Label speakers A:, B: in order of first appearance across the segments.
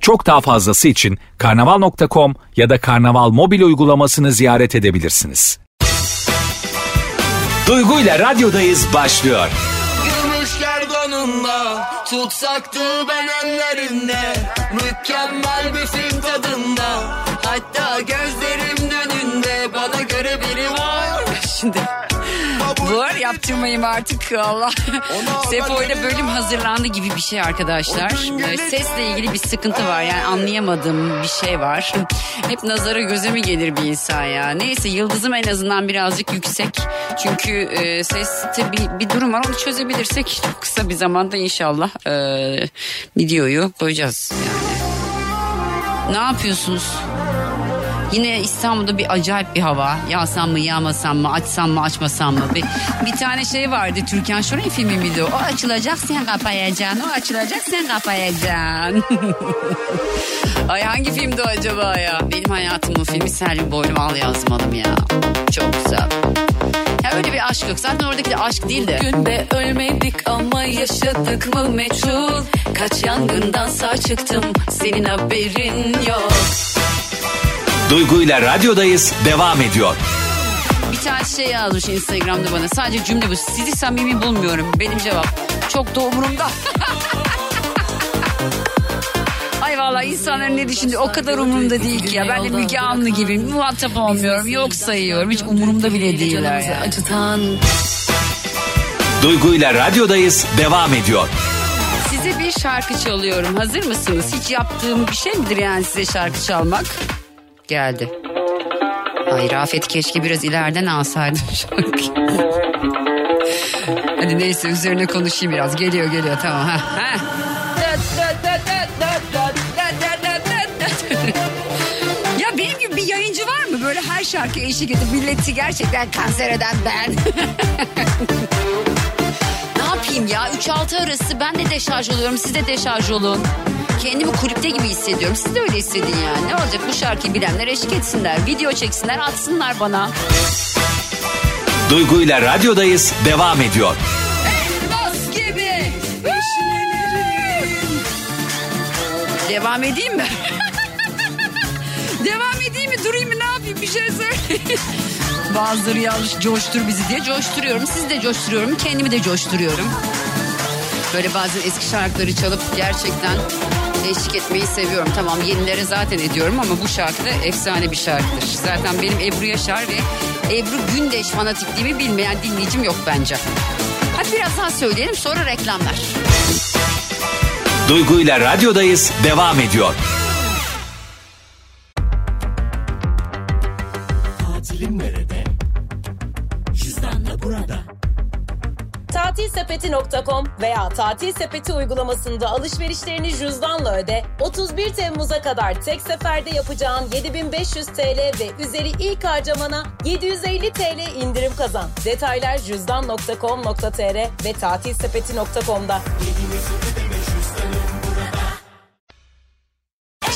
A: Çok daha fazlası için karnaval.com ya da karnaval mobil uygulamasını ziyaret edebilirsiniz. Duygu ile radyodayız başlıyor.
B: Gümüş gerdanında Tutsaktı ben önlerinde Mükemmel bir film tadında Hatta gözlerim önünde Bana göre biri var
C: Şimdi bu var yaptırmayayım artık Allah. Sefo ile bölüm hazırlandı gibi bir şey arkadaşlar. Ee, Sesle ilgili bir sıkıntı var yani anlayamadığım bir şey var. Hep nazara göze mi gelir bir insan ya. Neyse yıldızım en azından birazcık yüksek. Çünkü e, seste bir, bir durum var onu çözebilirsek çok kısa bir zamanda inşallah e, videoyu koyacağız yani. Ne yapıyorsunuz? Yine İstanbul'da bir acayip bir hava. Yağsam mı yağmasam mı açsam mı açmasam mı? Bir, bir tane şey vardı Türkan Şoray filmi miydi o? O açılacak sen kapayacaksın. O açılacak sen kapayacaksın. Ay hangi filmdi o acaba ya? Benim hayatımın filmi Selvi Boylum Al Yazmalım ya. Çok güzel. Ya öyle bir aşk yok. Zaten oradaki de aşk değil de.
D: Günde ölmedik ama yaşadık mı meçhul Kaç yangından sağ çıktım senin haberin yok
A: Duygu ile radyodayız devam ediyor.
C: Bir tane şey yazmış Instagram'da bana. Sadece cümle bu. Sizi samimi bulmuyorum. Benim cevap. Çok da umurumda. Ay vallahi insanların ne düşündüğü o kadar umurumda değil ki ya. Ben de Müge Anlı gibi muhatap olmuyorum. Yok sayıyorum. Hiç umurumda bile değiller
D: Canımızı
C: yani.
D: acıtan
A: Duygu ile radyodayız devam ediyor.
C: Size bir şarkı çalıyorum. Hazır mısınız? Hiç yaptığım bir şey midir yani size şarkı çalmak? Geldi. Ay Rafet keşke biraz ileriden alsaydım şarkıyı. Hadi neyse üzerine konuşayım biraz. Geliyor geliyor tamam. Ha, ha. ya benim gibi bir yayıncı var mı? Böyle her şarkı eşlik edip milleti gerçekten kanser eden ben. Ne yapayım ya? 3-6 arası ben de deşarj oluyorum. Siz de deşarj olun. Kendimi kulüpte gibi hissediyorum. Siz de öyle hissedin yani. Ne olacak bu şarkıyı bilenler eşlik etsinler. Video çeksinler atsınlar bana.
A: Duygu ile radyodayız devam ediyor.
C: Bas gibi. Devam edeyim mi? Devam edeyim mi? Durayım mı? Ne yapayım? Bir şey söyle. Bazıları yanlış coştur bizi diye coşturuyorum. Sizi de coşturuyorum. Kendimi de coşturuyorum. Böyle bazen eski şarkıları çalıp gerçekten eşlik etmeyi seviyorum. Tamam yenilere zaten ediyorum ama bu şarkı da efsane bir şarkıdır. Zaten benim Ebru Yaşar ve Ebru Gündeş fanatikliğimi bilmeyen dinleyicim yok bence. Hadi biraz daha söyleyelim sonra reklamlar.
A: Duygu ile radyodayız devam ediyor.
E: Tatilsepeti.com veya Tatil Sepeti uygulamasında alışverişlerini cüzdanla öde. 31 Temmuz'a kadar tek seferde yapacağın 7500 TL ve üzeri ilk harcamana 750 TL indirim kazan. Detaylar cüzdan.com.tr ve tatilsepeti.com'da.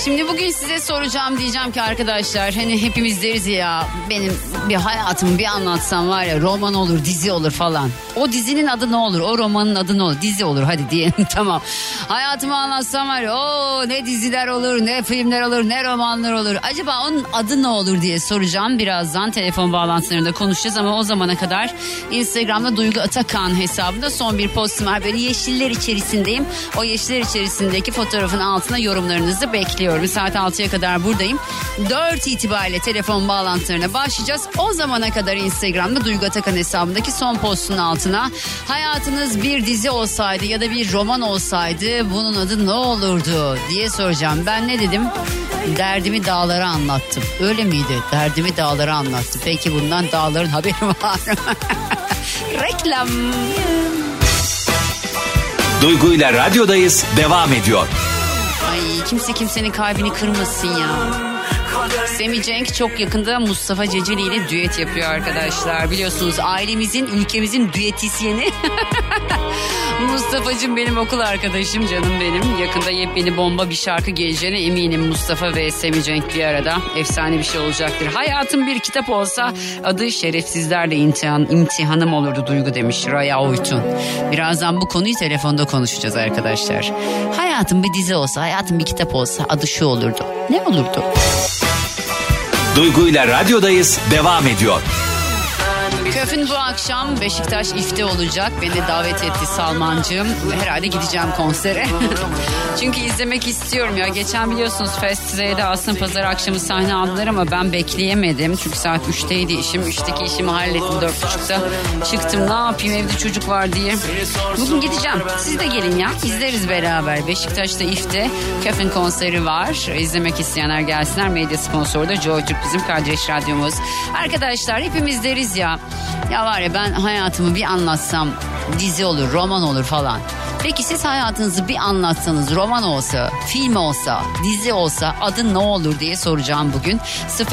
C: Şimdi bugün size soracağım diyeceğim ki arkadaşlar hani hepimiz deriz ya benim bir hayatımı bir anlatsam var ya roman olur dizi olur falan. O dizinin adı ne olur o romanın adı ne olur dizi olur hadi diyelim tamam. Hayatımı anlatsam var ya o ne diziler olur ne filmler olur ne romanlar olur. Acaba onun adı ne olur diye soracağım birazdan telefon bağlantılarında konuşacağız ama o zamana kadar Instagram'da Duygu Atakan hesabında son bir postum var. Böyle yeşiller içerisindeyim. O yeşiller içerisindeki fotoğrafın altına yorumlarınızı bekliyorum. Saat 6'ya kadar buradayım. 4 itibariyle telefon bağlantılarına başlayacağız. O zamana kadar Instagram'da Duygu Atakan hesabındaki son postun altına hayatınız bir dizi olsaydı ya da bir roman olsaydı bunun adı ne olurdu diye soracağım. Ben ne dedim? Derdimi dağlara anlattım. Öyle miydi? Derdimi dağlara anlattım. Peki bundan dağların haberi var mı? Reklam.
A: Duygu ile radyodayız devam ediyor.
C: Ay kimse kimsenin kalbini kırmasın ya. Semih Cenk çok yakında Mustafa Ceceli ile düet yapıyor arkadaşlar. Biliyorsunuz ailemizin, ülkemizin düetisyeni. Mustafa'cığım benim okul arkadaşım canım benim. Yakında yepyeni bomba bir şarkı geleceğine eminim Mustafa ve Semih Cenk bir arada. Efsane bir şey olacaktır. Hayatım bir kitap olsa adı şerefsizlerle imtihan, imtihanım olurdu duygu demiş Raya Oytun. Birazdan bu konuyu telefonda konuşacağız arkadaşlar. Hayatım bir dizi olsa, hayatım bir kitap olsa adı şu olurdu. Ne olurdu?
A: Duygu ile radyodayız devam ediyor.
C: Köfün bu akşam Beşiktaş ifte olacak. Beni de davet etti Salmancığım. Herhalde gideceğim konsere. Çünkü izlemek istiyorum ya. Geçen biliyorsunuz Fest Z'de aslında pazar akşamı sahne aldılar ama ben bekleyemedim. Çünkü saat 3'teydi işim. 3'teki işimi hallettim 4.30'da. Çıktım ne yapayım evde çocuk var diye. Bugün gideceğim. Siz de gelin ya. İzleriz beraber. Beşiktaş'ta ifte Köfün konseri var. İzlemek isteyenler gelsinler. Medya sponsoru da Joy Türk bizim kardeş radyomuz. Arkadaşlar hepimiz deriz ya. Ya var ya ben hayatımı bir anlatsam dizi olur, roman olur falan. Peki siz hayatınızı bir anlatsanız roman olsa, film olsa, dizi olsa adı ne olur diye soracağım bugün.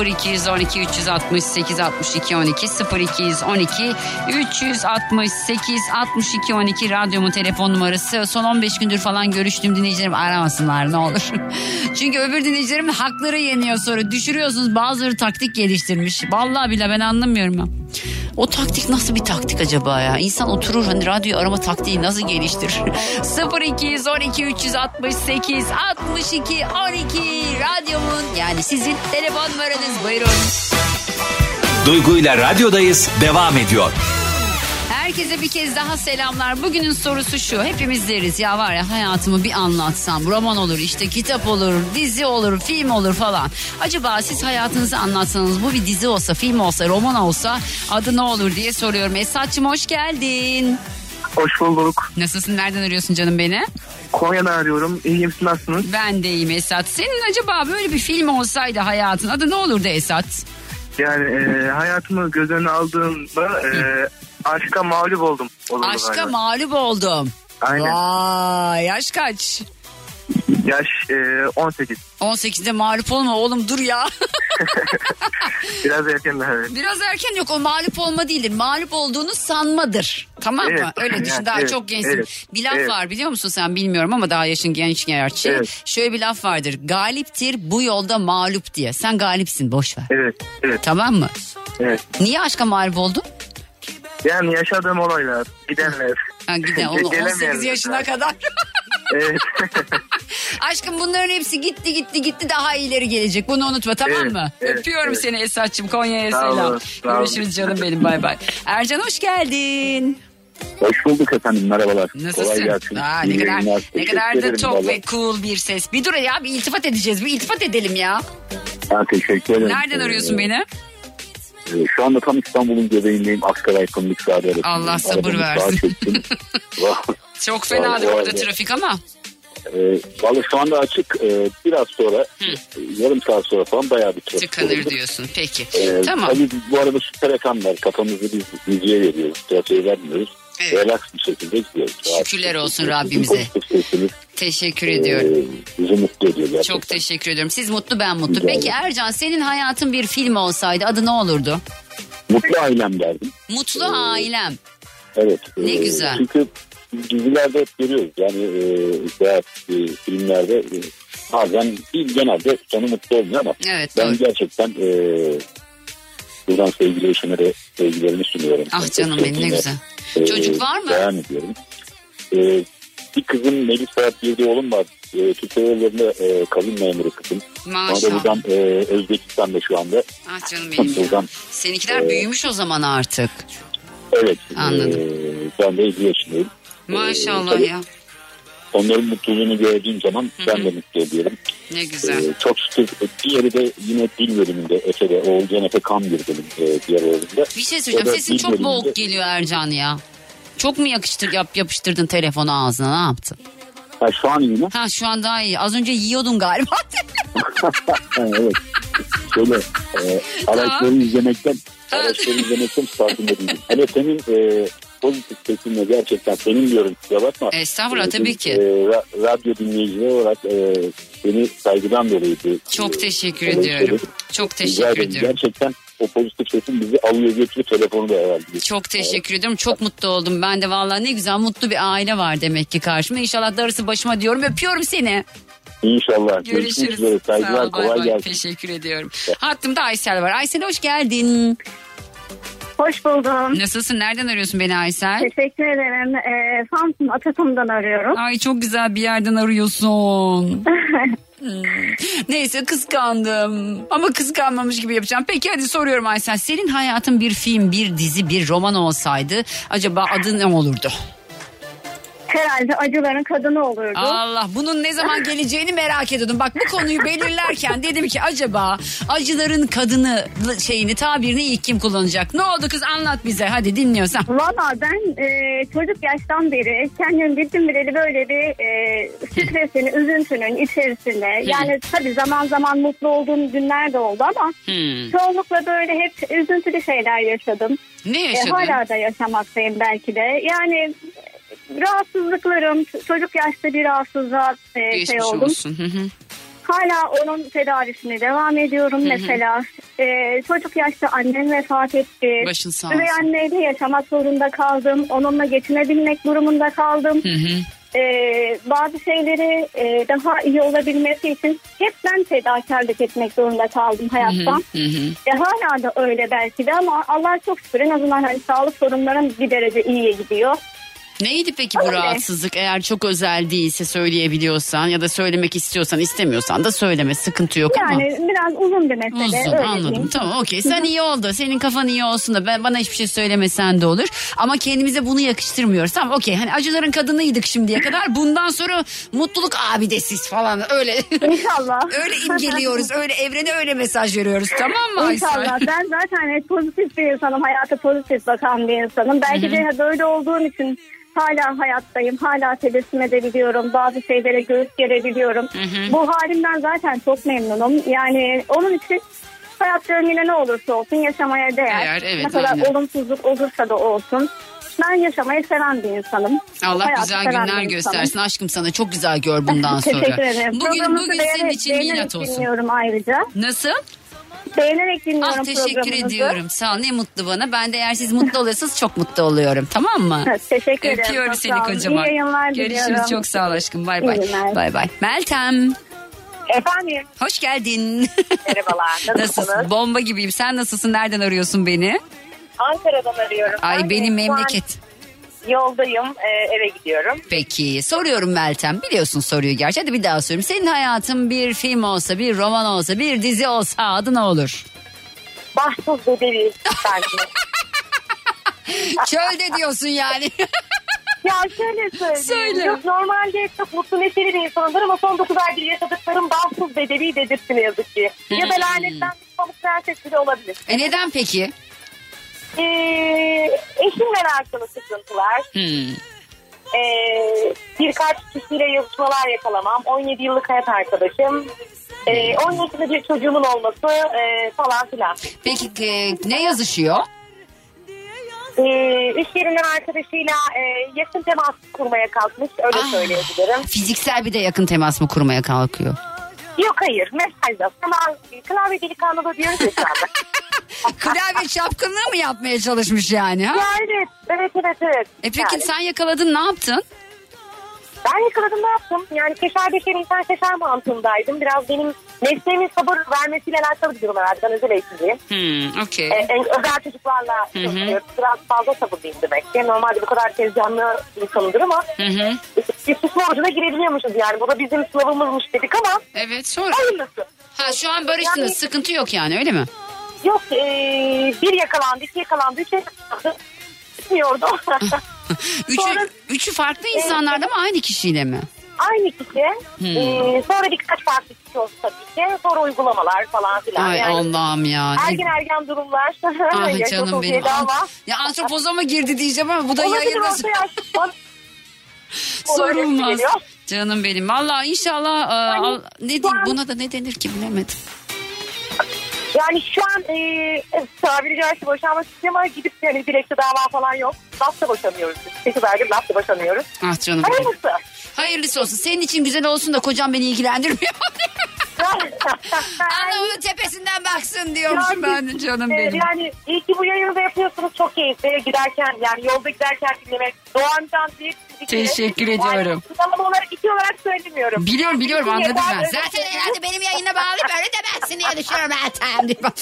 C: 0212 368 62 12 0212 368 62 12 radyomun telefon numarası. Son 15 gündür falan görüştüğüm dinleyicilerim aramasınlar ne olur. Çünkü öbür dinleyicilerim hakları yeniyor sonra. Düşürüyorsunuz bazıları taktik geliştirmiş. Vallahi bile ben anlamıyorum. ya. O taktik nasıl bir taktik acaba ya? İnsan oturur hani radyo arama taktiği nasıl geliştirir? 0212 368 62 12 radyomun yani sizin telefon numaranız buyurun.
A: Duygu ile radyodayız devam ediyor.
C: Herkese bir kez daha selamlar. Bugünün sorusu şu. Hepimiz deriz ya var ya hayatımı bir anlatsam. Roman olur işte kitap olur, dizi olur, film olur falan. Acaba siz hayatınızı anlatsanız bu bir dizi olsa, film olsa, roman olsa adı ne olur diye soruyorum. Esat'cığım hoş geldin.
F: Hoş bulduk.
C: Nasılsın? Nereden arıyorsun canım beni?
F: Konya'dan arıyorum. İyiyim siz nasılsınız?
C: Ben de iyiyim Esat. Senin acaba böyle bir film olsaydı hayatın adı ne olurdu Esat?
F: Yani e, hayatımı göz önüne aldığımda e, aşka mağlup oldum. Olurdu
C: Aşka
F: galiba.
C: mağlup oldum.
F: Aynen.
C: Vay yaş kaç?
F: Yaş e, 18.
C: 18'de mağlup olma oğlum dur ya.
F: Biraz erken daha evet.
C: Biraz erken yok o mağlup olma değildir. Mağlup olduğunu sanmadır. Tamam mı?
F: Evet.
C: Öyle düşün
F: Yani
C: daha
F: evet,
C: çok gençsin.
F: evet,
C: Bir laf
F: evet.
C: var biliyor musun sen bilmiyorum ama daha yaşın genç gerçi.
F: Evet.
C: Şöyle bir laf vardır. Galiptir bu yolda mağlup diye. Sen galipsin boş ver.
F: Evet, evet,
C: Tamam mı?
F: evet.
C: Niye aşka mağlup oldun?
F: Yani yaşadığım olaylar, gidenler.
C: Ha, gide, onu
F: Gelemeyenler.
C: 18 yaşına kadar.
F: Evet,
C: Aşkım bunların hepsi gitti gitti gitti daha ileri gelecek. Bunu unutma tamam
F: Evet,
C: mı?
F: evet,
C: Öpüyorum
F: evet.
C: seni Esat'cığım Konya'ya
F: Sağ olun,
C: selam.
F: sağ olun.
C: Görüşürüz canım benim bay bay. Ercan hoş geldin.
G: Hoş bulduk efendim merhabalar.
C: Nasılsın?
G: Kolay gelsin.
C: Aa,
G: İyi
C: ne kadar,
G: yayınlar.
C: ne
G: Teşekkür
C: kadar da
G: ederim
C: çok
G: valla.
C: ve cool bir ses. Bir dur ya bir iltifat edeceğiz bir iltifat edelim ya.
G: Ha, teşekkür ederim.
C: Nereden
G: Ee,
C: arıyorsun beni?
G: e, Şu anda tam İstanbul'un göbeğindeyim. Aksaray Kondik Sade arasındayım.
C: Allah sabır
G: Arabamı sağa
C: versin.
G: çektim. Valla-
C: Çok
G: Vallahi
C: fenadır orada
G: öyle.
C: trafik ama.
G: e, Valla şu anda açık. E, Biraz sonra e, yarım saat sonra falan bayağı bir trafik
C: Tıkanır
G: olacak.
C: diyorsun peki.
G: E,
C: tamam.
G: Tabii biz bu arada süper efendim var. Kafamızı biz müziğe veriyoruz. Trafiğe vermiyoruz.
C: Evet.
G: Relax bir şekilde gidiyoruz.
C: Şükürler olsun
G: Bizim
C: Rabbimize.
G: pozitif sesimiz,
C: Teşekkür
G: e,
C: ediyorum.
G: Bizi mutlu ediyor gerçekten.
C: Çok teşekkür ediyorum. Siz mutlu ben mutlu.
G: Rica
C: Peki
G: ederim.
C: Ercan senin hayatın bir film olsaydı adı ne olurdu?
G: Mutlu ailem derdim.
C: Mutlu
G: Ee,
C: ailem.
G: Evet. e,
C: Ne güzel.
G: Çünkü dizilerde hep görüyoruz. Yani e, veya e, filmlerde e, bazen değil genelde sonu mutlu olmuyor ama
C: Evet
G: ben
C: doğru.
G: gerçekten e, buradan sevgili eşime de sevgilerimi sunuyorum.
C: Ah
G: Çok
C: canım benim ne
G: sevgiyle,
C: güzel.
G: e,
C: Çocuk var mı?
G: Devam ediyorum. E, bir kızım Melisa diye bir oğlum var. E, Türkiye yollarında e, kavim memuru kızım. Ona da
C: Maşallah.
G: buradan e, Özbekistan'da şu anda.
C: Ah canım benim ya.
G: Buradan
C: Seninkiler büyümüş o zaman artık.
G: evet.
C: Anladım.
G: E, ben de 50 yaşındayım. E,
C: Maşallah ya.
G: Onların mutluluğunu gördüğüm zaman ben de mutlu ediyorum.
C: Ne güzel.
G: Ee, çok şükür diğeri de yine dil bölümünde Efe'de, Oğulcan Efe Kamgir bölüm e, diğer oğlumda.
C: Bir şey söyleyeceğim.
G: Evet,
C: Sesin çok
G: bilmiyorum.
C: boğuk geliyor Ercan ya. Çok mu yakıştır yap yapıştırdın telefonu ağzına ne yaptın?
G: Ha, şu an yine.
C: Ha şu an daha iyi. Az önce yiyordun galiba.
G: Ha, evet. Şöyle e, araçları izlemekten
C: Evet.
G: araçları izlemekten farkında değilim. Hele senin e, pozitif seçimle gerçekten senin diyorum kusura bakma.
C: Estağfurullah,
G: Ee,
C: tabii
G: biz,
C: ki.
G: e, ra- radyo dinleyicileri olarak e, seni saygıdan dolayı. bir-
C: Çok teşekkür
G: e,
C: ediyorum.
G: söyledim.
C: Çok
G: Rica
C: teşekkür
G: ederim.
C: ediyorum.
G: Gerçekten o pozitif sesin bizi alıyor götürüyor telefonu da herhalde.
C: Çok teşekkür ediyorum. Çok mutlu oldum. Ben de vallahi ne güzel mutlu bir aile var demek ki karşıma. İnşallah darısı başıma diyorum. Öpüyorum seni.
G: İnşallah. Görüşmek
C: Görüşürüz.
G: üzere.
C: Sağ
G: Saygılar
C: ol, bay
G: kolay
C: bay.
G: gelsin.
C: Teşekkür ediyorum. Hattımda Aysel var. Aysel hoş geldin.
H: Hoş buldum.
C: Nasılsın? Nereden arıyorsun beni Aysel?
H: Teşekkür ederim. Ee, Samsun Atakum'dan arıyorum.
C: Ay çok güzel bir yerden arıyorsun. Hmm. Neyse kıskandım ama kıskanmamış gibi yapacağım. Peki hadi soruyorum Aysel. Senin hayatın bir film, bir dizi, bir roman olsaydı acaba adı ne olurdu?
H: Herhalde acıların kadını olurdu.
C: Allah bunun ne zaman geleceğini merak ediyordum. Bak bu konuyu belirlerken dedim ki acaba acıların kadını şeyini tabirini ilk kim kullanacak? Ne oldu kız anlat bize hadi dinliyorsan.
H: Valla ben e, çocuk yaştan beri kendim bildim bileli böyle bir e, stresin, üzüntünün içerisinde. Yani tabii zaman zaman mutlu olduğum günler de oldu ama
C: Hmm.
H: çoğunlukla böyle hep üzüntülü şeyler yaşadım.
C: Ne
H: E,
C: yaşadın?
H: hala da yaşamaktayım belki de. Yani e, rahatsızlıklarım, çocuk yaşta bir rahatsızlığa e, şey
C: Geçmiş
H: oldum.
C: olsun. Hı hı.
H: Hala onun tedavisine devam ediyorum
C: Hı hı.
H: mesela. Ee, çocuk yaşta annem vefat etti.
C: Başın sağ
H: Üvey
C: olsun.
H: anneyle yaşamak zorunda kaldım. Onunla geçinebilmek durumunda kaldım.
C: Hı hı.
H: Ee, bazı şeyleri e, daha iyi olabilmesi için hep ben fedakarlık etmek zorunda kaldım hayattan. E, hala da öyle belki de ama Allah çok şükür en azından hani sağlık sorunlarım bir derece iyiye gidiyor.
C: Neydi peki bu
H: Öyle.
C: rahatsızlık? Eğer çok özel değilse söyleyebiliyorsan ya da söylemek istiyorsan istemiyorsan da söyleme sıkıntı yok ama.
H: Yani biraz uzun bir mesele.
C: Olsun
H: öyle
C: anladım
H: diyeyim.
C: tamam okey sen iyi oldu senin kafan iyi olsun da ben, bana hiçbir şey söylemesen de olur ama kendimize bunu yakıştırmıyoruz tamam okey hani acıların kadınıydık şimdiye kadar bundan sonra mutluluk abidesiz falan öyle
H: İnşallah.
C: öyle imgeliyoruz öyle evrene öyle mesaj veriyoruz tamam mı Aysel?
H: İnşallah. Ben zaten hep pozitif bir insanım. Hayata pozitif bakan bir insanım. Belki de böyle olduğum için hala hayattayım. Hala tebessüm edebiliyorum. Bazı şeylere göğüs gerebiliyorum. Bu halimden zaten çok memnunum. Yani onun için hayatlarım yine ne olursa olsun yaşamaya değer.
C: Değer, evet,
H: ne kadar
C: aynen.
H: olumsuzluk olursa da olsun. Ben yaşamayı seven bir insanım.
C: Allah
H: Hayatı
C: güzel
H: seven bir
C: günler
H: insanım.
C: göstersin aşkım sana çok güzel gör bundan sonra.
H: Teşekkür ederim.
C: Bugün,
H: Programınızı
C: bugün senin
H: beğenerek-
C: için milat
H: beğenerek
C: olsun.
H: dinliyorum ayrıca.
C: Nasıl?
H: Beğenerek dinliyorum
C: Ah teşekkür
H: programınızı.
C: ediyorum. Sağ ol. Ne mutlu bana. Ben de eğer siz mutlu oluyorsanız çok mutlu oluyorum. Tamam mı?
H: Evet, teşekkür ederim.
C: Öpüyorum
H: Çok
C: seni
H: sağ olun.
C: kocaman.
H: İyi yayınlar
C: Görüşürüz.
H: diliyorum.
C: Çok sağ ol aşkım. Bay
H: İyi
C: bay.
H: günler.
C: Bay bay. Meltem.
I: Efendim.
C: Hoş geldin.
I: Merhabalar. Nasılsınız?
C: Nasılsın? Bomba gibiyim. Sen nasılsın? Nereden arıyorsun beni?
I: Ankara'dan arıyorum.
C: Ay
I: Ben e,
C: benim
I: şu an
C: memleket.
I: Yoldayım. e, eve gidiyorum.
C: Peki soruyorum Meltem. Biliyorsun soruyu gerçi. Hadi bir daha soruyorum. Senin hayatın bir film olsa, bir roman olsa, bir dizi olsa adı ne olur?
I: Bahtsız bedevi belki.
C: Çölde diyorsun yani.
I: ya şöyle söyleyeyim.
C: Söyle.
I: Yok, normalde çok mutlu neşeli bir insanımdır ama son 9 aydır yaşadıklarım bahtsız bedevi dedirtti ne yazık ki. ya da
C: Hmm.
I: lanetten bir pamuk prenses bile olabilir.
C: E neden peki?
I: Ee, eşimle alakalı sıkıntılar.
C: Hmm.
I: Ee, birkaç kişiyle yazışmalar yakalamam. 17 yıllık hayat arkadaşım. Ee, 10 yaşında bir çocuğumun olması e, falan filan.
C: Peki e, ne yazışıyor?
I: Ee, iş yerinden arkadaşıyla e, yakın temas kurmaya kalkmış. Öyle
C: Ah.
I: söyleyebilirim.
C: Fiziksel bir de yakın temas mı kurmaya kalkıyor?
I: Yok hayır mesajla. Tamam klavye delikanlı da diyoruz ya şu anda.
C: Klavye çapkınlığı mı yapmaya çalışmış yani? Ha?
I: Ya evet, evet evet evet.
C: E peki
I: Yani.
C: sen yakaladın ne yaptın?
I: Ben yakaladım ne yaptım? Yani keşer beşer insan keşer mantığındaydım. Biraz benim mesleğimin sabır vermesiyle alakalı bir durum herhalde. Ben özel eğitimciyim.
C: Hmm, okey.
I: Ee, en- özel çocuklarla
C: Hı hı.
I: çalışıyorum. Biraz fazla sabırlıyım demek ki. Normalde bu kadar tezcanlı insanımdır ama
C: Hı hı.
I: istisna orucuna girebiliyormuşuz yani. Bu da bizim sınavımızmış dedik ama.
C: Evet sonra.
I: Hayırlısı.
C: Ha şu an barıştınız.
I: Yani-
C: Sıkıntı yok yani öyle mi?
I: Yok ee, bir yakalandı, iki yakalandı, üç yakalandı. Bilmiyordu.
C: Üçü, üçü farklı insanlarda mı aynı kişiyle mi?
I: Aynı kişi.
C: Hmm.
I: Ee, sonra birkaç farklı kişi oldu tabii ki. Sonra uygulamalar falan filan.
C: Ay
I: yani
C: Allah'ım ya. Ne-
I: Ergen ergen durumlar.
C: Ah
I: Yaşa
C: canım
I: çok
C: benim.
I: yedi ama.
C: Ant- ya ah, antropoza mı girdi diyeceğim ama bu da
I: Olabilir,
C: yayında
I: orta yaş. Bana-
C: sorulmaz.
I: geliyor.
C: Canım Hani benim. Valla inşallah e, al- ne diyeyim buna da ne denir ki bilemedim.
J: Yani şu an e, tabiri caizse boşanma sistemi gidip yani dilekçe dava falan yok. Lafta boşanıyoruz. biz. Sekiz aydır lafta boşanıyoruz.
C: Ah canım.
J: Hayırlısı.
C: Hayırlısı olsun. Senin için güzel olsun da kocam beni ilgilendirmiyor. Anlamının tepesinden baksın diyormuşum ben de canım
J: e,
C: benim.
J: Yani iyi ki bu yayını da yapıyorsunuz. Çok keyifli. Giderken yani yolda giderken dinlemek. Doğan Can diye bir-
C: Teşekkür ediyorum.
J: Yani, sıralama olarak iki olarak söylemiyorum.
C: Biliyorum biliyorum
J: İki
C: anladım
J: yeter,
C: ben.
J: öyle
C: Zaten
J: söyleyeyim.
C: herhalde benim yayına bağlı böyle demezsin diye düşünüyorum Ertem diye. bak.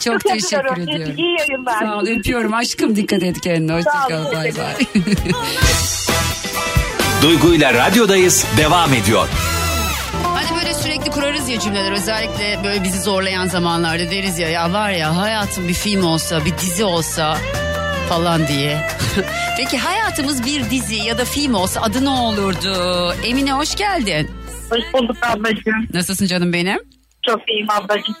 C: Çok
J: Çok
C: teşekkür
J: ediyorum. İyi-
C: ediyorum.
J: iyi yayınlar.
C: Sağ ol öpüyorum aşkım dikkat et kendine.
J: Sağ
C: Hoşça
J: ol,
C: kal bay bay.
A: Duygu ile radyodayız devam ediyor.
C: Hani böyle sürekli kurarız ya cümleler özellikle böyle bizi zorlayan zamanlarda deriz ya ya var ya hayatım bir film olsa bir dizi olsa falan diye. Peki hayatımız bir dizi ya da film olsa adı ne olurdu? Emine hoş geldin.
K: Hoş bulduk ablacığım.
C: Nasılsın canım benim?
K: Çok iyiyim ablacığım.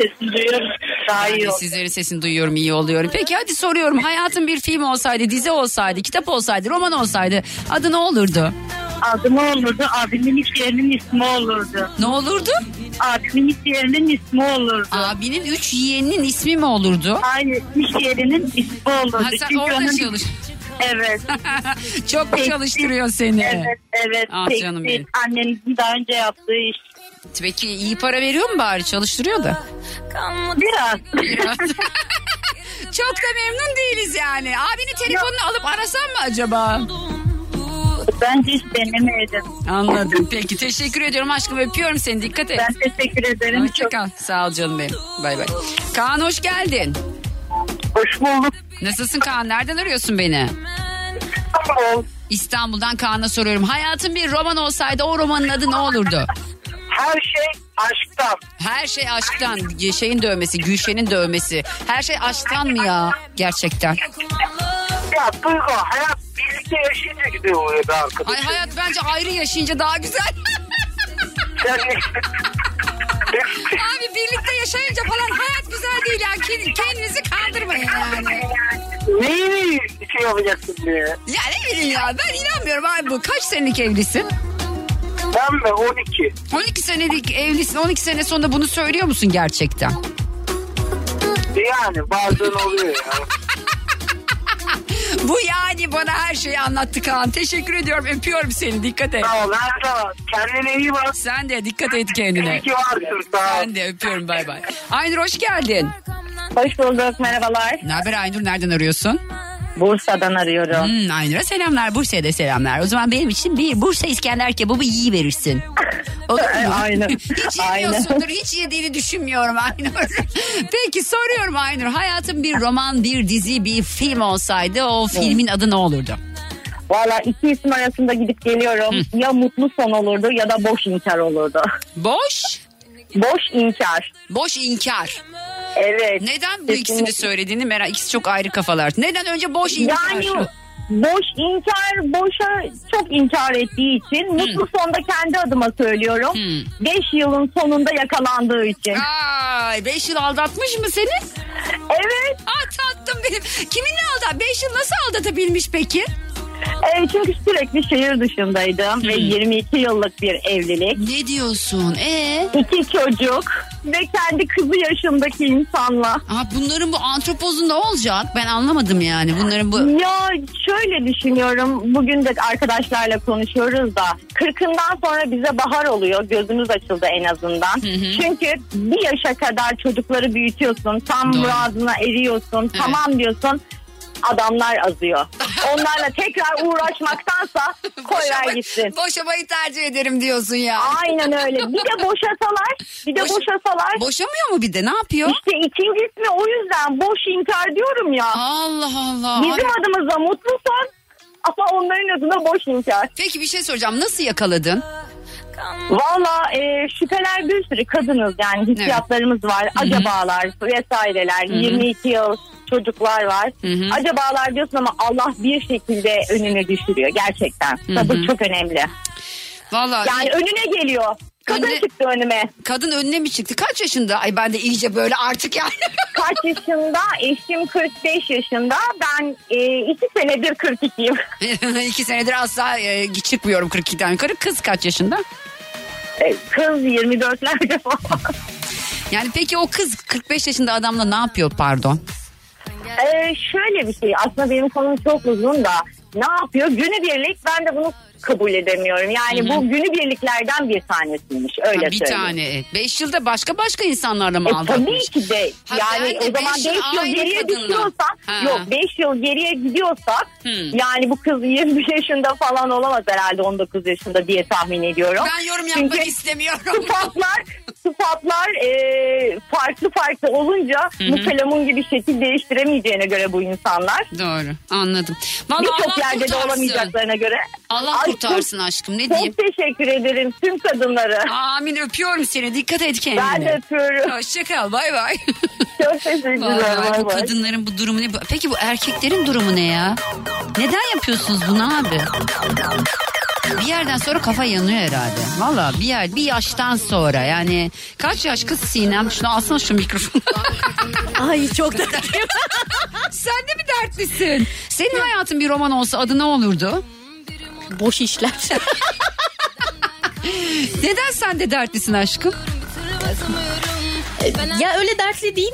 K: Sesini duyuyorum. Daha
C: Ben
K: iyi
C: de
K: oldu.
C: sizlerin sesini duyuyorum iyi oluyorum. Peki hadi soruyorum hayatın bir film olsaydı dizi olsaydı kitap olsaydı roman olsaydı adı ne olurdu?
K: Adı ne olurdu? Abimin iş yerinin ismi olurdu.
C: Ne olurdu?
K: Abimin iş yerinin ismi olurdu.
C: Abinin üç yeğeninin ismi mi olurdu?
K: Hayır, iş yerinin ismi olurdu.
C: Ha, sen
K: Çünkü
C: orada
K: onun-
C: çalış.
K: Evet.
C: Çok mu
K: Tekstil-
C: çalıştırıyor seni?
K: Evet, evet.
C: Ah
K: Tekstil,
C: canım benim.
K: Annemizin daha önce yaptığı iş.
C: Peki iyi para veriyor mu bari? Çalıştırıyor da.
K: Biraz.
C: Çok da memnun değiliz yani. Abinin telefonunu alıp arasam mı acaba?
K: Bence hiç denemeyelim.
C: Anladım. Peki teşekkür ediyorum aşkım. Öpüyorum seni. Dikkat et.
K: Ben teşekkür ederim.
C: Hoşça kal. Sağ ol canım benim. Bay bay. Kaan hoş geldin.
K: Hoş bulduk.
C: Nasılsın Kaan? Nereden arıyorsun beni? İstanbul'dan Kaan'a soruyorum. Hayatın bir roman olsaydı o romanın adı ne olurdu?
K: Her şey aşktan.
C: Her şey aşktan. Şeyin dövmesi, Gülşen'in dövmesi. Her şey aşktan mı ya? Gerçekten.
L: Ya Duygu hayat birlikte yaşayınca gidiyor oraya be arkadaşım.
C: Ay hayat bence ayrı yaşayınca daha güzel. Abi birlikte yaşayınca falan hayat güzel değil ya. Kend- Kendinizi kandırmayın yani.
L: Neyi şey yapacaksın diye.
C: Ya ne bileyim ya ben inanmıyorum abi bu. Kaç senelik evlisin?
L: Ben mi 12.
C: 12 senelik evlisin. 12 sene sonunda bunu söylüyor musun gerçekten?
L: Yani bazen oluyor ya.
C: Bu yani bana her şeyi anlattı Kaan. Teşekkür ediyorum. Öpüyorum seni. Dikkat et.
L: Sağ ol, her zaman. Kendine iyi bak.
C: Sen de dikkat et kendine.
L: İyi ki varsın, sağ ol.
C: Ben de öpüyorum. Bay bay. Aynur hoş geldin.
H: Hoş bulduk merhabalar.
C: Ne haber Aynur nereden arıyorsun?
H: Bursa'dan arıyorum.
C: Hmm, Aynur'a selamlar Bursa'ya da selamlar. O zaman benim için bir Bursa İskender kebabı iyi verirsin.
H: Aynen.
C: hiç yemiyorsundur hiç yediğini düşünmüyorum Aynur. Peki soruyorum Aynur hayatın bir roman bir dizi bir film olsaydı o filmin adı ne olurdu?
H: Valla iki isim arasında gidip geliyorum. Ya mutlu son olurdu ya da boş inkar olurdu.
C: Boş?
H: Boş inkar.
C: Boş inkar.
H: Evet.
C: Neden bu ikisini söylediğini merak ikisi çok ayrı kafalar. Neden önce boş inkar?
H: Yani boş inkar, boşa çok inkar ettiği için mutlu sonda kendi adıma söylüyorum. 5 yılın sonunda yakalandığı için.
C: Ay 5 yıl aldatmış mı seni?
H: Evet.
C: Ah tatlım benim. Kiminle aldat? 5 yıl nasıl aldatabilmiş peki?
H: E, çünkü sürekli şehir dışındaydım ve 22 yıllık bir evlilik.
C: Ne diyorsun? Ee?
H: İki çocuk ve kendi kızı yaşındaki insanla.
C: Aa, bunların bu antropozun ne olacak? Ben anlamadım yani bunların bu...
H: Ya şöyle düşünüyorum. Bugün de arkadaşlarla konuşuyoruz da. Kırkından sonra bize bahar oluyor. Gözümüz açıldı en azından. Çünkü bir yaşa kadar çocukları büyütüyorsun. Tam muradına eriyorsun. Tamam diyorsun. Adamlar azıyor. Onlarla tekrar uğraşmaktansa koyar gitsin.
C: Boşamayı tercih ederim diyorsun ya.
H: Aynen öyle. Bir de boşasalar, bir de boşasalar.
C: Boşamıyor mu bir de? Ne yapıyor?
H: İşte ikinci ismi o yüzden boş inkar diyorum ya.
C: Allah Allah.
H: Bizim adımıza mutlu son ama onların adına boş inkar.
C: Peki bir şey soracağım. Nasıl yakaladın?
H: Valla e, şüpheler bir sürü kadınız yani hissiyatlarımız var. Acabalar vesaireler
C: Hı hı.
H: 22 yıl çocuklar var. Acabalar diyorsun ama Allah bir şekilde önüne düşürüyor gerçekten. Sabır çok önemli.
C: Vallahi
H: Yani önüne geliyor. Kadın çıktı önüme.
C: Kadın önüne mi çıktı? Kaç yaşında? Ay ben de iyice böyle artık yani.
H: Kaç yaşında? Eşim 45 yaşında. Ben e, iki senedir 42'yim.
C: İki senedir asla e, çıkmıyorum
H: E,
C: 42'den yukarı. Kız kaç yaşında?
H: Kız 24'lerde falan.
C: Yani peki o kız 45 yaşında adamla ne yapıyor pardon?
H: Ee, şöyle bir şey aslında benim konum çok uzun da ne yapıyor? Günübirlik ben de bunu kabul edemiyorum. Yani
C: Hı hı.
H: bu günübirliklerden bir tanesiymiş öyle
C: Ha, bir
H: söyleyeyim.
C: tane. 5 yılda başka başka insanlarla mı
H: E,
C: aldatmış?
H: tabii ki de
C: Ha,
H: yani
C: ben de
H: o zaman
C: beş
H: 5
C: yıl
H: yıl
C: aynı
H: geriye
C: kadınla.
H: gidiyorsak
C: Ha.
H: yok 5 yıl geriye gidiyorsak
C: Hmm.
H: yani bu kız 20 yaşında falan olamaz herhalde 19 yaşında diye tahmin ediyorum.
C: Ben yorum yapmak
H: Çünkü
C: istemiyorum.
H: Sıfatlar, sıfatlar e, farklı farklı olunca
C: Hı hı.
H: bu kalemun gibi şekil değiştiremeyeceğine göre bu insanlar.
C: Doğru anladım. Vallahi
H: Birçok
C: Allah
H: yerde de
C: kurtarsın.
H: olamayacaklarına göre.
C: Allah
H: Ay,
C: kurtarsın aşkım ne
H: Çok
C: diyeyim.
H: teşekkür ederim tüm kadınları.
C: Amin öpüyorum seni. Dikkat et kendine.
H: Ben de öpüyorum.
C: Hoşçakal bay bay.
H: Çok teşekkürler.
C: Vay vay,
H: bay
C: bu
H: bay.
C: kadınların bu durumu ne? Peki bu erkeklerin durumu ne ya? Neden yapıyorsunuz bunu abi? Bir yerden sonra kafa yanıyor herhalde. Valla bir yer bir yaştan sonra yani kaç yaş kız Sinem? Şunu alsana şu mikrofonu. Ay çok dertliyim. Sen de mi dertlisin? Senin hayatın bir roman olsa adı ne olurdu? Boş işler. Neden sen de dertlisin aşkım?
M: Ya öyle dertli değilim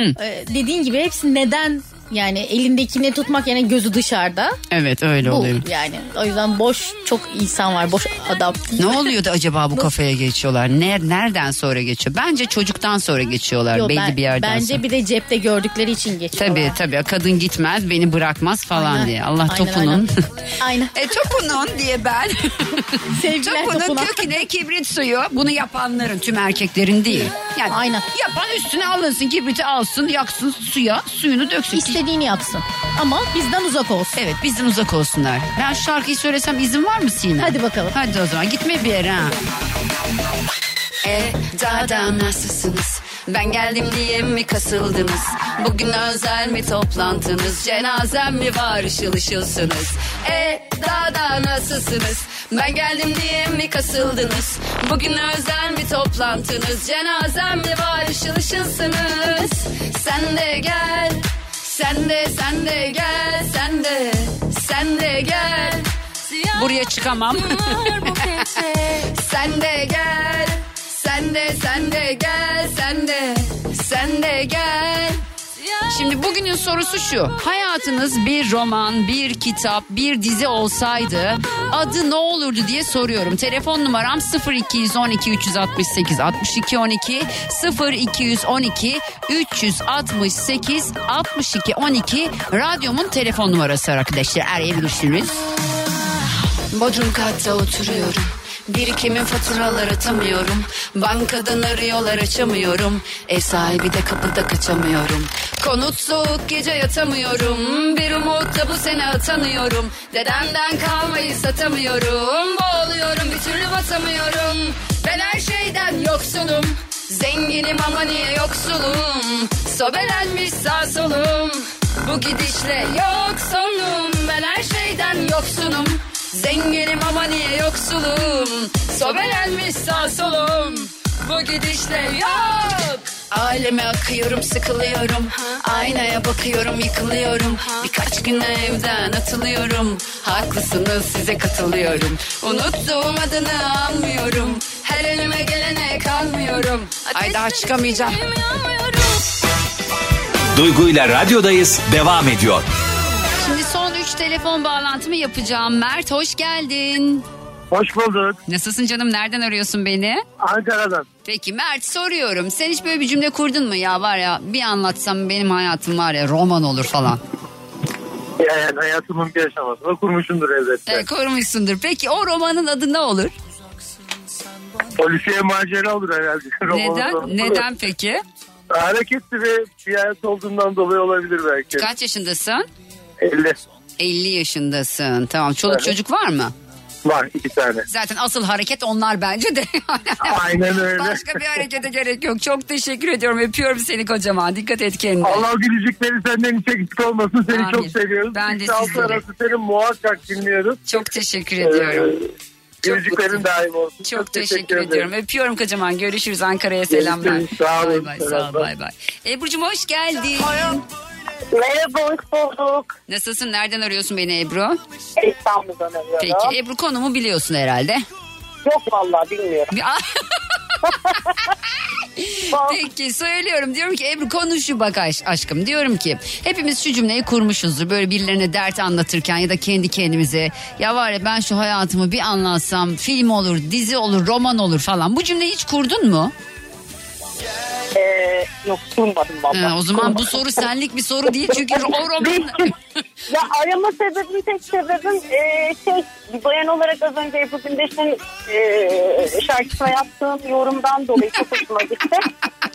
M: de e, dediğin gibi hepsi neden yani elindekini tutmak yani gözü dışarıda.
C: Evet öyle
M: bu
C: oluyor.
M: yani o yüzden boş çok insan var boş adam.
C: Ne oluyor da acaba bu kafaya geçiyorlar? Ne, nereden sonra geçiyor? Bence çocuktan sonra geçiyorlar
M: Yok,
C: belli
M: ben-
C: bir yerden
M: Bence
C: sonra.
M: bir de cepte gördükleri için geçiyorlar.
C: Tabii tabii kadın gitmez beni bırakmaz falan
M: Aynen.
C: diye. Allah
M: Aynen,
C: topunun.
M: Aynen.
C: E topunun diye ben.
M: Sevgiler
C: topunun
M: topuna.
C: köküne kibrit suyu. Bunu yapanların tüm erkeklerin değil. Yani Aynen. yapan üstüne alınsın kibriti alsın yaksın suya suyunu döksün. İstediğini yapsın ama bizden uzak olsun. Evet bizden uzak olsunlar. Ben şarkıyı söylesem izin var mı Sinem? Hadi bakalım. Hadi o zaman gitme bir yere ha.
D: E daha da nasılsınız? Ben geldim diye mi kasıldınız? Bugün özel mi toplantınız? Cenazem mi var ışıl ışılsınız? E daha da nasılsınız? Ben geldim diye mi kasıldınız? Bugün özel mi toplantınız? Cenazem mi var ışıl ışılsınız? Sen de gel, sen de sen de gel, sen de sen de gel.
C: Buraya çıkamam.
D: sen de gel, sen de sen de gel, sen de sen de gel.
C: Şimdi bugünün sorusu şu. Hayatınız bir roman, bir kitap, bir dizi olsaydı adı ne olurdu diye soruyorum. Telefon numaram 0212 368 62 12 0212 368 62 12 radyomun telefon numarası arkadaşlar arayabilirsiniz.
D: Bodrum katta oturuyorum. Birikimin faturalar atamıyorum. Bankadan arıyorlar açamıyorum. Ev sahibi de kapıda kaçamıyorum. Konut soğuk gece yatamıyorum. Bir umut da bu sene atanıyorum. Dedemden kalmayı satamıyorum. Boğuluyorum bir türlü batamıyorum. Ben her şeyden yoksulum. Zenginim ama niye yoksulum? Sobelenmiş sağ solum. Bu gidişle yok sonum. Ben her şeyden yoksunum. Zenginim ama niye yoksulum? Sobelenmiş sağ solum. Bu gidişle yok. Aileme akıyorum sıkılıyorum Aynaya bakıyorum yıkılıyorum Birkaç güne evden atılıyorum Haklısınız size katılıyorum Unuttuğum adını anmıyorum Her elime gelene kalmıyorum Ay daha çıkamayacağım
A: Duygu ile radyodayız devam ediyor.
C: Şimdi son 3 telefon bağlantımı yapacağım. Mert hoş geldin.
F: Hoş bulduk.
C: Nasılsın canım? Nereden arıyorsun beni?
F: Ankara'dan.
C: Peki Mert soruyorum. Sen hiç böyle bir cümle kurdun mu ya var ya bir anlatsam benim hayatım var ya roman olur falan.
F: Yani Ee, hayatımın bir aşamasını kurmuşumdur elbette.
C: Evet, Ee, korumuşsundur. Peki o romanın adı ne olur?
F: Polisiye macera olur herhalde. Romanın
C: Neden?
F: sonu.
C: Neden peki?
F: Hareketli bir ziyaret olduğundan dolayı olabilir belki.
C: Kaç yaşındasın?
F: 50.
C: 50 yaşındasın. Tamam. Çoluk
F: Evet.
C: çocuk var mı?
F: Var iki tane.
C: Zaten asıl hareket onlar bence de.
F: Aynen öyle.
C: Başka bir harekete gerek yok. Çok teşekkür ediyorum. Öpüyorum seni kocaman. Dikkat et kendine.
F: Allah gülücükleri senden hiç eksik olmasın. Seni
C: Amin.
F: çok seviyoruz.
C: Ben de
F: İşte altı
C: sizleri.
F: arası seni muhakkak dinliyoruz. Ee,
C: Çok teşekkür ediyorum.
F: Gülücüklerin daim olsun.
C: Çok, teşekkür, ediyorum. Öpüyorum kocaman. Görüşürüz Ankara'ya selamlar.
F: Görüşürüz. Sağ
C: Bay
F: olun.
C: bay, sağ ol,
F: Selamlar.
C: bay bay. Ebru'cum hoş geldin.
N: Merhaba hoş bulduk.
C: Nasılsın? Nereden arıyorsun beni Ebru?
N: İstanbul'dan arıyorum.
C: Peki Ebru konumu biliyorsun herhalde. ah,
N: Yok vallahi bilmiyorum.
C: Bir- Peki söylüyorum diyorum ki Ebru konu şu bak aş- aşkım diyorum ki hepimiz şu cümleyi kurmuşuzdur böyle birilerine dert anlatırken ya da kendi kendimize ya var ya ben şu hayatımı bir anlatsam film olur dizi olur roman olur falan bu cümleyi hiç kurdun mu?
O: Ee, yok kurmadım valla.
C: Ha, Ee, o zaman bu soru senlik bir soru değil çünkü o roman
O: ya arama sebebim tek sebebim ee, şey bir bayan olarak az önce Ebru Gündeş'in ee, şarkısına yaptığım yorumdan dolayı çok hoşuma gitti.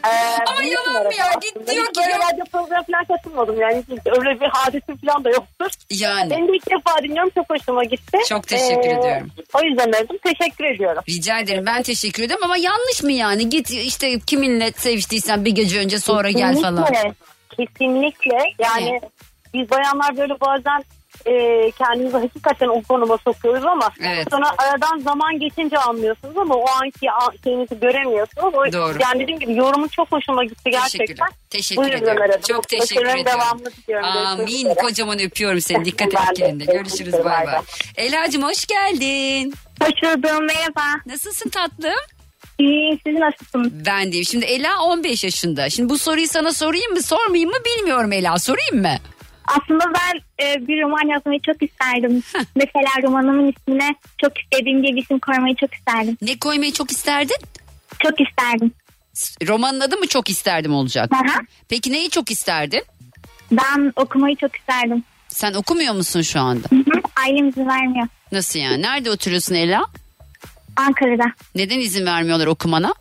O: E, Ama yalan mı ya? Git diyor ki. Böyle radyo programı falan katılmadım yani. Hiç Öyle bir hadise falan da yoktur.
C: Yani.
O: Ben de ilk defa dinliyorum çok hoşuma gitti. E,
C: Çok teşekkür ediyorum.
O: O yüzden aradım. Teşekkür ediyorum.
C: Rica ederim ben teşekkür ederim ama yanlış mı yani git işte kiminle seviştiysen bir gece önce sonra gel falan.
O: Kesinlikle, Kesinlikle. Yani biz bayanlar böyle bazen e, kendimizi hakikaten o konuma sokuyoruz ama sonra aradan zaman geçince anlıyorsunuz ama o anki a- şeyinizi göremiyorsunuz. O,
C: Doğru.
O: Yani dediğim gibi yorumun çok hoşuma gitti gerçekten.
C: Teşekkürler. Teşekkür
O: Bu yüzden
C: ediyorum.
O: aradım.
C: Çok teşekkür
O: Başarıların
C: ediyorum.
O: devamını diliyorum. Görüşmek
C: Amin.
O: üzere.
C: Kocaman öpüyorum seni. Dikkat et
O: Ben de.
C: kendine. Görüşürüz.
O: Görüşürüz.
C: Bay
O: Bay
C: bay.
O: bay.
C: Ela'cığım hoş geldin.
O: Hoş buldum. Merhaba.
C: Nasılsın tatlım?
O: İyiyim. Siz nasılsınız?
C: Ben deyim. Şimdi Ela 15 yaşında. Şimdi bu soruyu sana sorayım mı sormayayım mı bilmiyorum Ela. Sorayım mı?
H: Aslında ben e, bir roman yazmayı çok isterdim. Mesela romanımın ismine çok istediğim diye bir isim koymayı çok isterdim.
C: Ne koymayı çok isterdin?
H: Çok isterdim.
C: Romanın adı mı çok isterdim olacak? Peki neyi çok isterdin?
H: Ben okumayı çok isterdim.
C: Sen okumuyor musun şu anda?
H: Ailem izin vermiyor.
C: Nasıl yani? Nerede oturuyorsun Ela?
H: Ankara'da.
C: Neden izin vermiyorlar okumana?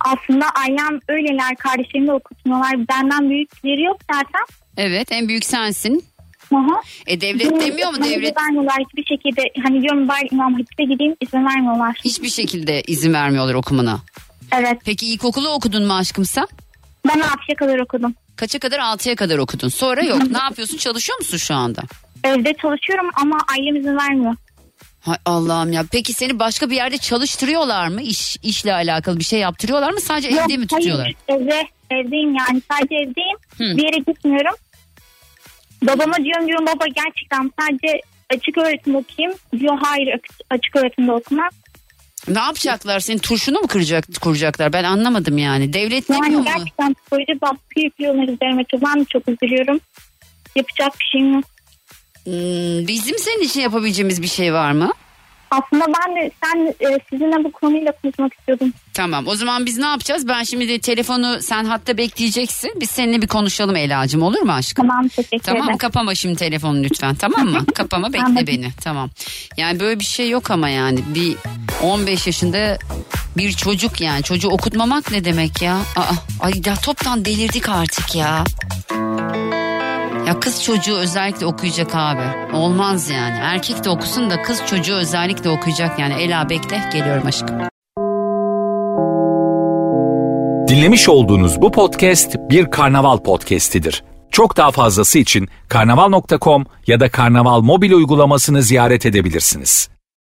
H: Aslında ailem öyleler. Kardeşlerimi de okutmuyorlar. Benden büyükleri yok zaten.
C: Evet en büyük sensin.
H: Aha.
C: E devlet demiyor mu devlet?
H: vermiyorlar hiçbir şekilde. Hani diyorum bari İmam Hatip'e gideyim izin vermiyorlar.
C: Hiçbir şekilde izin vermiyorlar okumana.
H: Evet.
C: Peki ilkokulu okudun mu aşkım sen?
H: Ben 6'ya kadar okudum.
C: Kaça kadar? 6'ya kadar okudun. Sonra yok. ne yapıyorsun? Çalışıyor musun şu anda?
H: Evde çalışıyorum ama ailem izin vermiyor.
C: Hay Allah'ım ya. Peki seni başka bir yerde çalıştırıyorlar mı? İş işle alakalı bir şey yaptırıyorlar mı? Sadece
H: Yok,
C: evde mi tutuyorlar?
H: Hayır, evde, evdeyim yani sadece evdeyim. Bir yere gitmiyorum. Babama diyorum diyorum baba gerçekten sadece açık öğretim okuyayım. Diyor hayır ak- açık öğretimde okuma.
C: Ne yapacaklar? Senin turşunu mu kıracak, kuracaklar? Ben anlamadım yani. Devlet ne
H: Yani
C: mu?
H: gerçekten psikoloji baskı yapıyorlar üzerime. Çok- Ben de çok üzülüyorum. Yapacak bir şeyim yok.
C: Hmm, bizim senin için yapabileceğimiz bir şey var mı?
H: Aslında ben de sen e, sizinle bu konuyla konuşmak istiyordum.
C: Tamam o zaman biz ne yapacağız? Ben şimdi de telefonu sen hatta bekleyeceksin. Biz seninle bir konuşalım Ela'cığım olur mu aşkım?
H: Tamam teşekkür
C: Tamam
H: ederim.
C: kapama şimdi telefonu lütfen tamam mı? kapama bekle
H: Anladım.
C: beni tamam. Yani böyle bir şey yok ama yani bir 15 yaşında bir çocuk yani çocuğu okutmamak ne demek ya? Aa, ay ya toptan delirdik artık ya. Ya kız çocuğu özellikle okuyacak abi. Olmaz yani. Erkek de okusun da kız çocuğu özellikle okuyacak yani. Ela bekle geliyorum aşkım.
A: Dinlemiş olduğunuz bu podcast bir karnaval podcastidir. Çok daha fazlası için karnaval.com ya da karnaval mobil uygulamasını ziyaret edebilirsiniz.